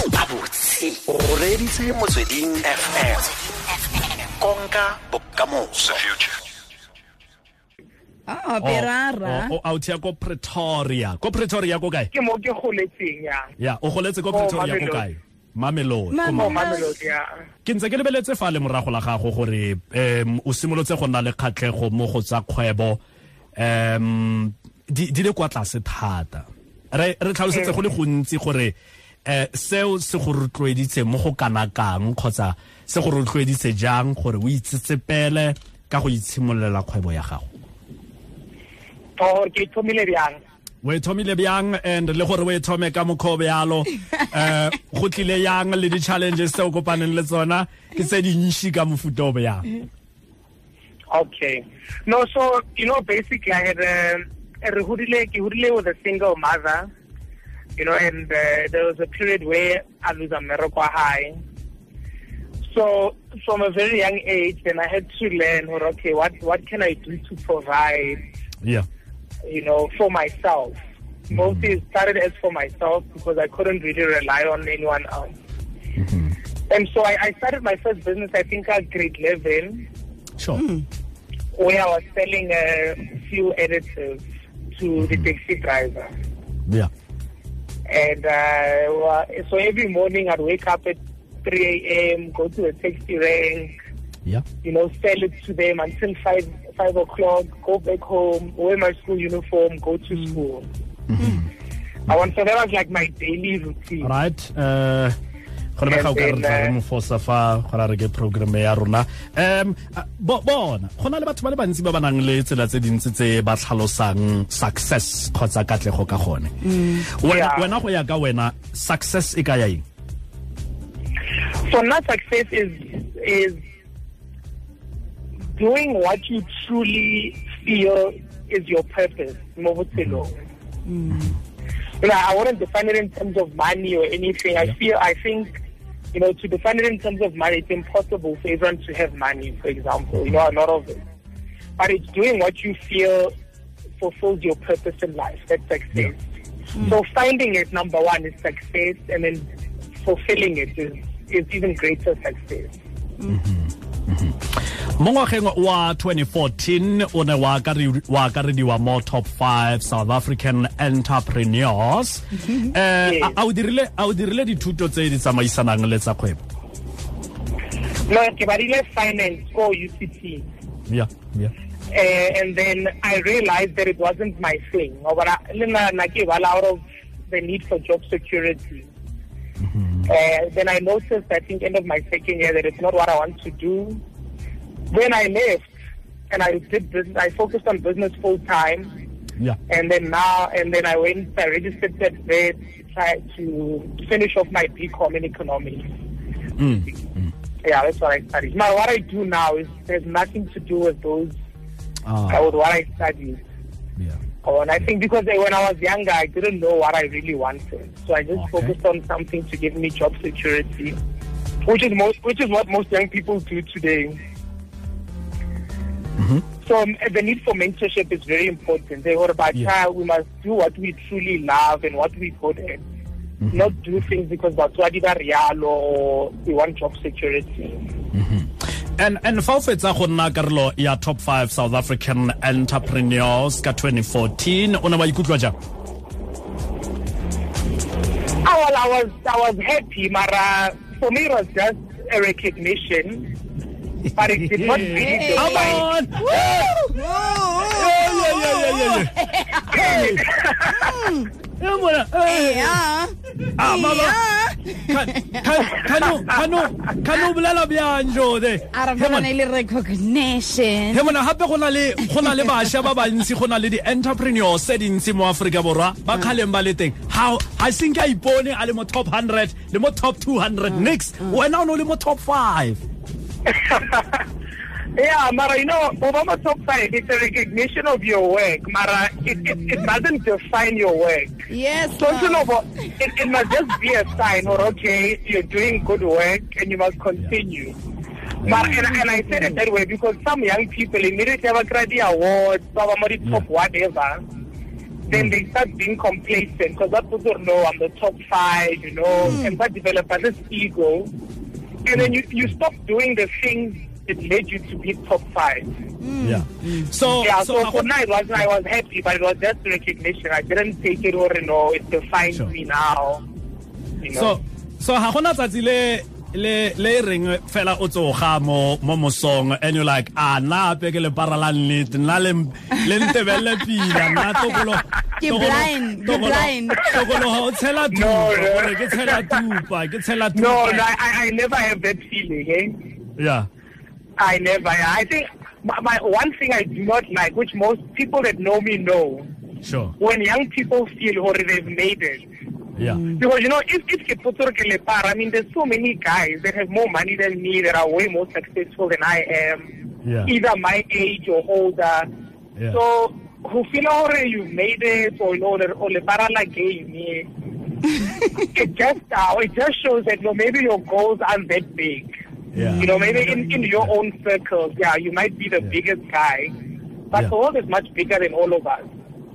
botse o reditse motsweding fm konka bokamoso Oh, Berara. o out ya ko pretoria ko pretoria ko kae ke mo ke goletseng ya ya o goletse ko Ko pretoria ko kae Mamelodi. mamelodi ko Mamelodi. mo Mamelodi. mamelodi ya ke ntse ke lebeletse fa le morago la gago gore um o simolotse go nna le kgatlhego mo go tsa kgwebo um di di le kwa tlase thata re re tlhalosetse go le gontsi gore um seo se go rotloeditse mo go kana kang kgotsa se go rotloeditse jang gore o itsetsepele ka go itshimololela kgwebo ya gago o Oh, ke thomile bjang o e thomile bjang and le gore o e thome ka mokgobe yalo um go tlile yang le di-challenges tse o kopaneng le tsona ke tse dintšhi ka mofuta o bjang okay no so you know basically i had um, re hodile ke hodile with a single mother you know and uh, there was a period where i lose a miracle high so from a very young age then i had to learn well, okay what what can i do to provide yeah you know, for myself. Mostly it started as for myself because I couldn't really rely on anyone else. And so I, I started my first business, I think, at grade 11, sure where I was selling a few additives to the taxi driver. yeah And uh, wa- so every morning I'd wake up at 3 a.m., go to the taxi rank, yeah you know, sell it to them until 5, 5 o'clock, go back home, wear my school uniform, go to school. I want, so that was like my daily routine. right uh go lebega o ka re re tla And then, re uh, mofosa fa go ra re ke programme ya rona um a- bo- bona go na le batho ba le bantsi ba ba nang le tsela tse dintsi tse ba tlhalosang success kgotsa katlego ka gone wena Yeah. wena go ya ka wena success e ka ya eng So now success is, is doing what you truly feel is your purpose. mo botshelong. You know, I wouldn't define it in terms of money or anything. I feel, I think, you know, to define it in terms of money, it's impossible for everyone to have money, for example. You know, a lot of it. But it's doing what you feel fulfills your purpose in life. That's success. So finding it, number one, is success, and then fulfilling it is, is even greater success. mo ngwageng wa 2014 o ne wa akare- wa akarediwa mo top 5 south african entrepreneurs um a a o dirile- a o dirile dithuto tse di tsamaisanang le tsa kgwebo No, okay, but even finance or UCT. yeah yeah Uh, and then I realized that it wasn't my thing. Or what I, Lena Naki, well, out of the need for job security. Uh, then I noticed, I think, end of my second year, that it's not what I want to do. Then I left and I did business. I focused on business full time. yeah And then now, and then I went, I registered that there to try to finish off my BCom in economics. Yeah, that's what I studied. Now, what I do now is has nothing to do with those Ah, uh, with what I studied. yeah. Oh, and I think because uh, when I was younger, I didn't know what I really wanted, so I just Okay. focused on something to give me job security, which is most, which is what most young people do today. Mm-hmm. So um, the need for mentorship is very important. They were about Yeah. "Ah, we must do what we truly love and what we good at, Mm-hmm. not do things because that's what real or we want job security. and and fa o fetsa go nna karolo ya top 5 south african entrepreneurs ka 2014 o ne wa ikutlwa jang Oh, well, I was I was happy, Mara. For me, it was just a recognition, but it did not really come define. on Woo! Yeah, Oh, yeah, yeah, yeah, yeah. Yeah, mona. Eh, Yeah. Eh, ah, mama. Yeah. Can- can- can o- can o- can o bolela bjang, Jode? Ara He bona mona. le recognition. He mona, gape go na le go na le bašwa ba bantsi go na le di-entrepreneurs tse dintsi mo aforika borwa ba kgaleng ba le teng How- ga seng ke a ipone a le mo top 100 le mo top 200 Mm. nix wena o ne o le mo top 5 Yeah, Mara, you know, Obama top five it's a recognition of your work, Mara. It, it, it doesn't define your work. Yes. So, you know, ma'am. but it, it must just be a sign, or okay, you're doing good work and you must continue. But, and, and I said it that way because some young people immediately have a credit award, some are more top whatever. then they start being complacent because that person know I'm the top five, you know, and that developer this ego, and then you, you stop doing the thing that led you to be top five. Mm. yeah so Yeah, so, ga for go- now it was I was happy, but it was just recognition. I didn't take it or you know it defines Sure. me now. You know? so so ha gona tsatsi le le le e reng fela o tsoga mo mo mosong and you like ah na ape ke le para la nnete nna le m- le ntebelele pila nna tokolo Ke tokolo- blind, ke tokolo- blind. tokolo ha o tshela tupa No, no. gore ke tshela tupa ke tshela tupa no, no, I, I I never have that feeling. Eh? yeah I never. I think my, my one thing I do not like, which most people that know me know, sure when young people feel or they've made it. yeah Because you know, if if ke potso re ke le para, I mean, there's so many guys that have more money than me that are way more successful than I am, Yeah. either my age or older. Yeah. So who feel already you made it or you know that or le para la game. yeah. it just uh, it just shows that you know, maybe your goals aren't that big. Yeah. You know, maybe in, in your own circles, yeah, you might be the Yeah. biggest guy, but Yeah. the world is much bigger than all of us.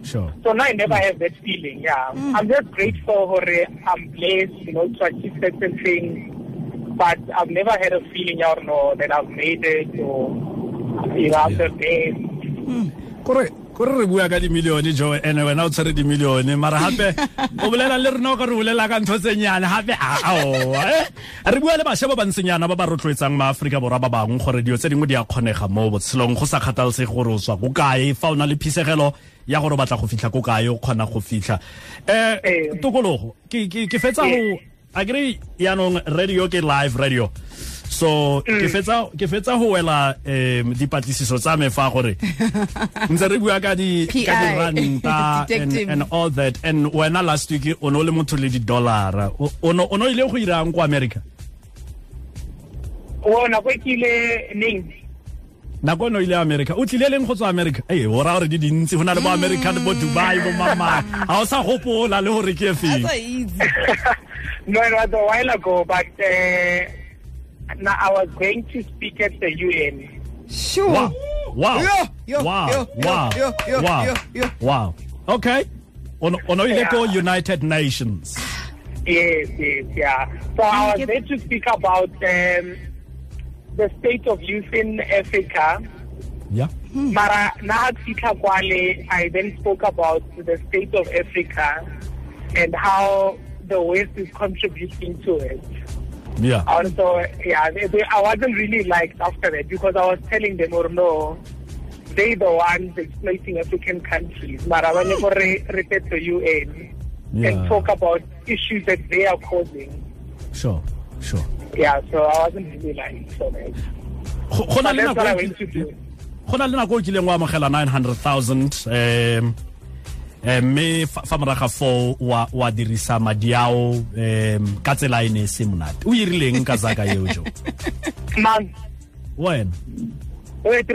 sure So now I never have that feeling. Yeah, I'm just grateful for uh, I'm blessed, you know, to achieve certain things. But I've never had a feeling, or no, that I've made it, or you know, I'm the best. kore kore re bua ka dimilione jo ene wena o tshwere dimilione mara gape o bolela le rena o ka re bolela ka ntho tsenyane gape aoa e? re bua le bašwa ba bantsenyana ba ba rotloetsang maaforika borwa ba bangwe gore dio tse dingwe di a kgonega mo botshelong go sa kgathalesege gore o tswa ko kae fa o na le phisegelo ya gore o batla go fitlha ko kae o kgona go fitlha um Ee. tokologo ke ke- ke fetsa go a kry yaanong radio ke live radio so ke fetsa ke fetsa go wela um dipatlisiso tsa me fa gore ntse re bua ka di PI. ka diranta and, Detective. and all that and wena last week o no le motho le di-dollara o o no o no ile go irang ko america Well, na kwekile neng. nako eno ile america o tlile leng go tswa america ee o raya gore di dintsi go na le bo america le bo dubai bo mamang ga o sa gopola le gore ke e feng That's so easy. No, it was a while ago, but uh, now I was going to speak at the UN. Sure. wow wow Yo, yo, wow yo, wow yo, yo, wow yo, yo. wow okay o no- o no ile ko Yeah. united nations Yes, yes, yeah. So I was there to speak about um, the state of youth in Africa. yeah Mara Nahatfika Kwale, I then spoke about the state of Africa and how the West is contributing to it. yeah Also, yeah, they, they, I wasn't really liked after that because I was telling them, or no, they the ones exploiting African countries. Mara, when you repeat to UN Yeah. and talk about issues that they are causing. sure sure Yeah, so I wasn't really liked for that. go go na But le that's what I nako e went to kile- do. go na le nako o kileng wa amogela 900000 um um mme fa fa moraga foo wa wa dirisa madi ao um ka tsela e ne e se monate o irileng ka zaka eo jo Man, wena wait,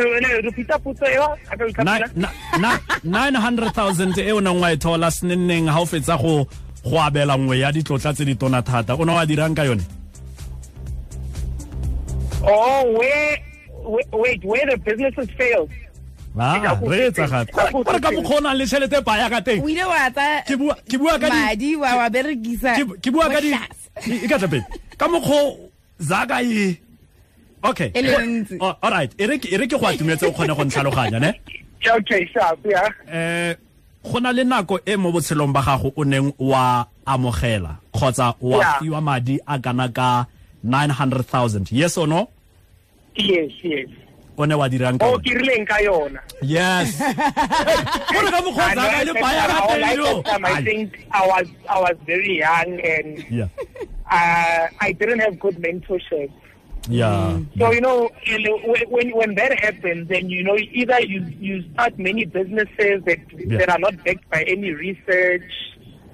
repeat that, put it I don't Nine- na- na- 900000 e o neng wa e thola senenneng ga o fetsa go go abela nngwe ya ditlotla tse di tona thata o ne wa dirang ka yone Oh, where, where, wait, where the businesses failed. Ah, re etsa gape gore ka mokgwa o nang le tšhelete e paya ka teng O ile wa tsa Ke bua- ke bua ka di- madi wa wa berekisa. Ke- ke bua ka di bohlas- e- e ka tla pele ka mokgo zaka e okay E le ntsi. O- all right e re ke e re ke go atumetse o kgone go ntlhaloganya ne Okay, sharp, yeah. eh go na le nako e mo botshelong ba gago o neng wa amogela kgotsa wa Yeah. fiwa madi a kana ka 900000 yes or no Yes, yes. o ne wa dirang ka Oh, yone? Kirilin Kayona. yes gore ka mokgwa zaka e le paya ka teng yo I Ai, think I was, I was very young and yeah uh, I didn't have good mentorship. yeah So, you know, and uh, when- when, when that happens, then, you know, either you, you start many businesses that, Yeah. that are not backed by any research.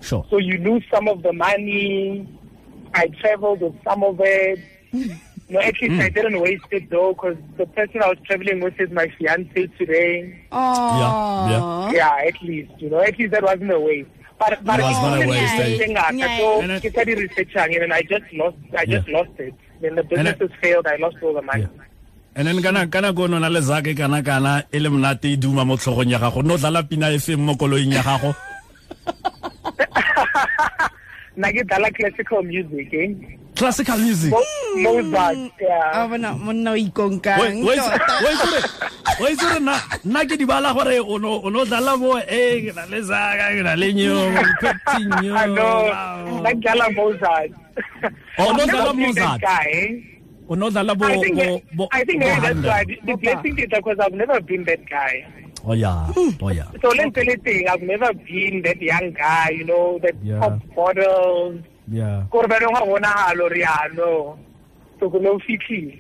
sure So you lose some of the money. I traveled with some of it. No, at least Hmm. I didn't waste it though, because the person I was traveling with is my fiance today. Oh. Yeah, at least you know, at least that wasn't a waste. But but It was not a even waste, eh? researching that, Yeah. so And it- I started researching and I just lost, I just Yeah. lost it. Then the businesses failed. I lost all the money. Yeah. and then kana kana go nona le zake kana kana e le monate e duma mo tlhogong ya gago no dlala pina e feng mo koloing ya gago Nagidala classical music, eh? classical music Mo- Mozart, a yeah. bona monna Ah, o ikonkang tota wa itse gore na- nna ke di bala gore o no o no dlala bo e ke na le saka ke na le nyo petinyo I know. Nagidala Mozart. Oh, I've Nagidala never seen that Mozart. guy, eh? o no dlala bo I think, bo bo I think bo maybe that's 100. why the, the blessing is because I've never been that guy. oh yeah oh yeah So let's say thing, I've never been that young guy, you know, that Yeah. top model. yeah Gore ba reng wa bonagala or ya, no. So go no fitly.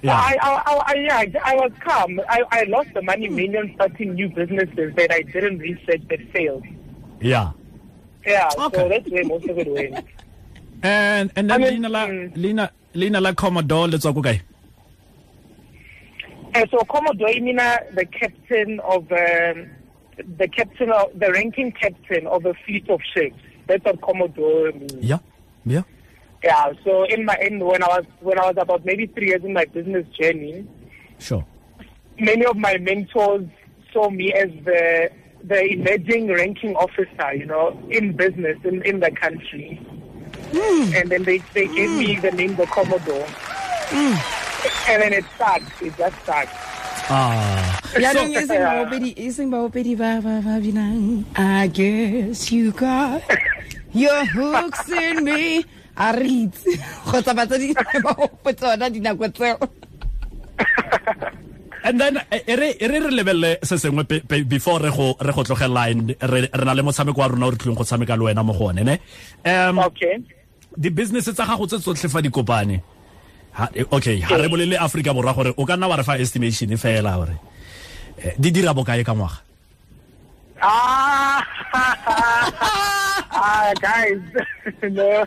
Yeah. I, I, I, I, yeah, I was calm. I, I lost the Hmm. money million starting new businesses that I didn't research that failed. yeah Yeah, Okay. so that's where most of it went. and and I then mean, leina la mm. leina leina la commodore le tswa ko kae And Eh, so Commodore Mina, the captain of um, the captain of the ranking captain of a fleet of ships. That's what Commodore means. yeah yeah Yeah. So in my in when I was when I was about maybe three years in my business journey, sure many of my mentors saw me as the the emerging ranking officer, you know, in business in, in the country. And then they, they gave me the name the Commodore. And then it sucked. It just sucked. ah Jaanong e seng baopedi- e seng baopedi ba ba ba binang i guess you got your hooks in me a re itse kgotsa batsadi ba ope tsona dinako tseo and then e e re e re re lebelle se sengwe pe- pe- before re go re go tlogela line, re re na le motshameko wa rona o re tlileng go tshameka le wena mo go one ne um Okay. di-business tsa gago tse tsotlhe fa di kopane ha- eh, okay ha re bolele aforika borwa gore o ka nna wa re fa estimation fela gore eh, di dira bokae ka ngwaga Ah, ah guys. no.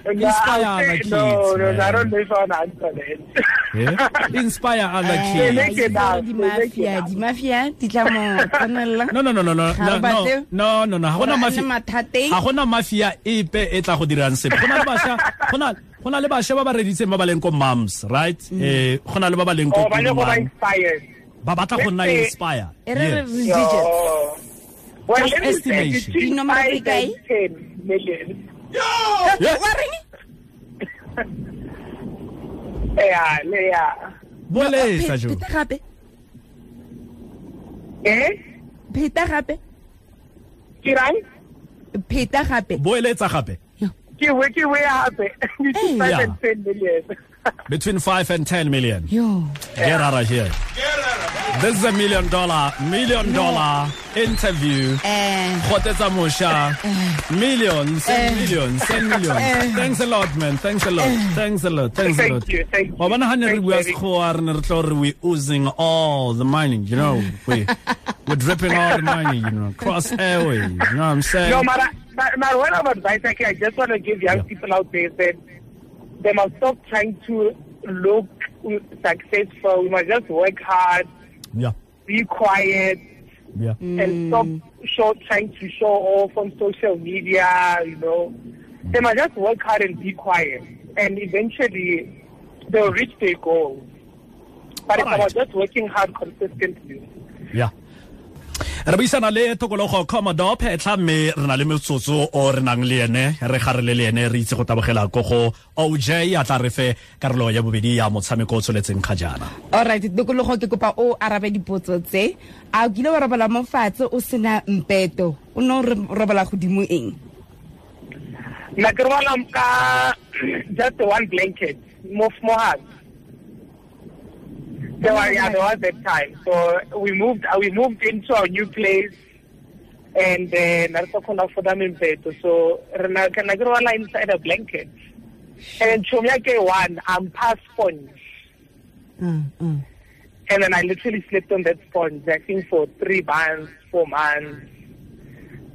No, I'll Inspire say- the kids, no, no, I man. don't know if I'll answer that. Eh? inspire other Eh, They kids make it up. They make dimafia it up. dimafia di tla mo tshwanela no no no no no Ha re no no batle- no no no ha Gore gona a mafi nne mathateng. ha gona mafia epe e tla go dirang sepe go na le bašwa go na- go na le bašwa ba ba reditseng ba ba leng ko mums right Mm. eh go na le ba ba leng ko Oh, but Pudungwane. inspired. ba batla go nna Let's say- inspire e re re Yes. religious Oh. Well, Just let me say estimation. between You know, my five guy. and ten million. Yes. Oh, wa reng Yeah, yeah. boletsa jo pheta gape Eh? pheta gape Kirai? pheta gape boeletsa gape Kiwi, kiwi, happy. Yeah. Between five and ten million. between 5 and 10 million yo Get out of here. This is a million dollar, million dollar interview. eh Kgotsetsa Mosha. Millions and Eh. millions and millions. Eh. Thanks a lot, man. Thanks a lot. Thanks a lot. Thanks a Thank lot. you, thank you. Wa bona ha ne re Thank bua you. sekgowa, re ne re tlo re we're oozing all the mining, you know. We, we're dripping all the mining, you know. Cross airway, you know what I'm saying? No, Mara, Mara, Mara, what about advice I, can, I just want to give young Yeah. people out there is that they must stop trying to look successful. We must just work hard, yeah, be quiet, yeah. and stop show, trying to show off on social media, you know. They must just work hard and be quiet. And eventually, they'll reach their goals. But it's Alright. about just working hard consistently. ya re buisana le tokologo commodore phetlha mme re na le metsotso o re nang le ene re garele le ene re itse go tabogela ko go oj a tla re fe karolo ya bobedi ya motshameko o tsholetseng ga jaana alright tokologo ke kopa o arabe dipotso tse a o kile wa robala mo fatshe o sena mpeto o ne o re- robala godimo eng Nakarwalam ka just one blanket, move more hard. There were yeah, there was that time. So we moved uh, we moved into our new place and then uh, Narsakona for them in bed. So Nagarwala inside a blanket. And then Chomyake one, I'm past sponge. Mm, And then I literally slept on that sponge, I think for three months, four months.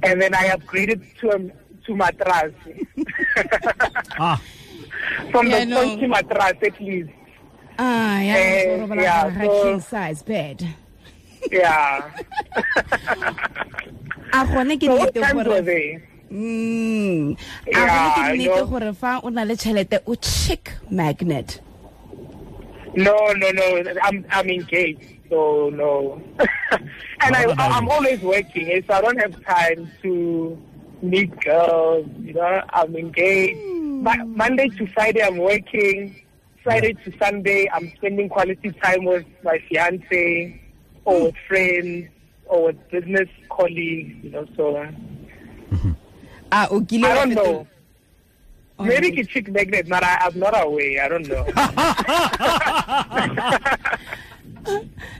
And then I upgraded to a, to matras. ah from Yeah, the no. point to matras at least. Ah, ya, Eh, so o robala yeah, gare ga so- king size bed Yeah. a gone ke so what nnete times were gore they? Mm. a gone Yeah, ke I nnete know. gore fa o na le tšhelete o chick magnet No, no, no. I'm I'm engaged, so no. and I, Not an I'm idea. always working, eh, so I don't have time to meet girls, you know, I'm engaged. Ma- Monday to Friday, I'm working. Friday to Sunday, I'm spending quality time with my fiance or with friends or with business colleagues, you know, so uh, a o kile wa I Oh, don't fetola- know. Maybe it's chick magnet, but I, I'm not aware. I don't know.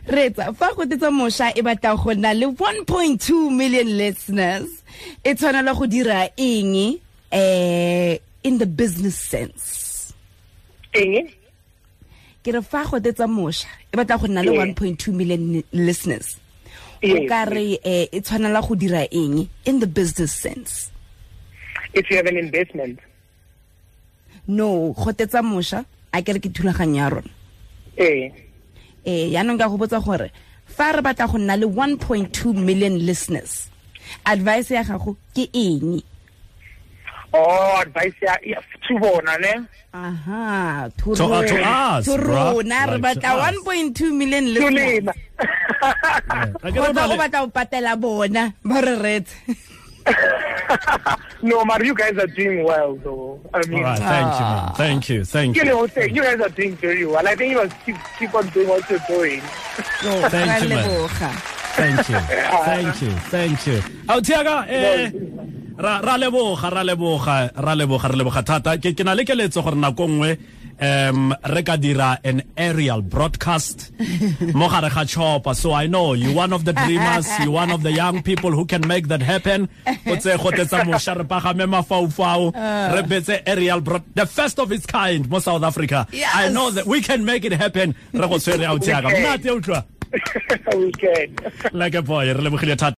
Retsa, fa go tetsa mošwa e batla go nna le 1.2 million listeners e tshwanela go dira eng eh, in the business sense Eng? ke re fa go tetsa mošwa e batla go nna le Yeah. 1.2 million ni- listeners o Yes. ka re eh, e tshwanela go dira eng in the business sense If you have an investment. no go tetsa mošwa a kere ke thulaganyo ya rona Eh. eh yaanong ke a go botsa gore fa re batla go nna le 1.2 million listeners advice ya gago ke eng Oh, advice ya yeah, to bona ne. aha to To- uh, to rona- us, to bruh. rona re Like, to batla us. 1.2 million To listeners lema. Like, Kgotsa o everybody- batla go patela bona ba re retse No, but you guys are doing well though. I mean, All right, thank you, man. Thank you, thank Ah. you. you know, say, you guys are doing very well. I think you must keep keep on doing what you're doing. Yo, Thank ra you, man. leboga. thank you thank you thank you autiaka eh ra ra leboga ra leboga ra leboga re leboga thata ke ke na le keletso gore nako nngwe um re ka dira an aerial broadcast mo gare ga chopper so i know you one of the dreamers you one of the young people who can make that happen o tse go tetsa mošwa re pagame mafaufau re betse aerial broad the first of its kind mo south africa i Yes. know that we can make it happen re go tshwere autiaka We can. mnate utlwa we can. like a boy re lebogile thata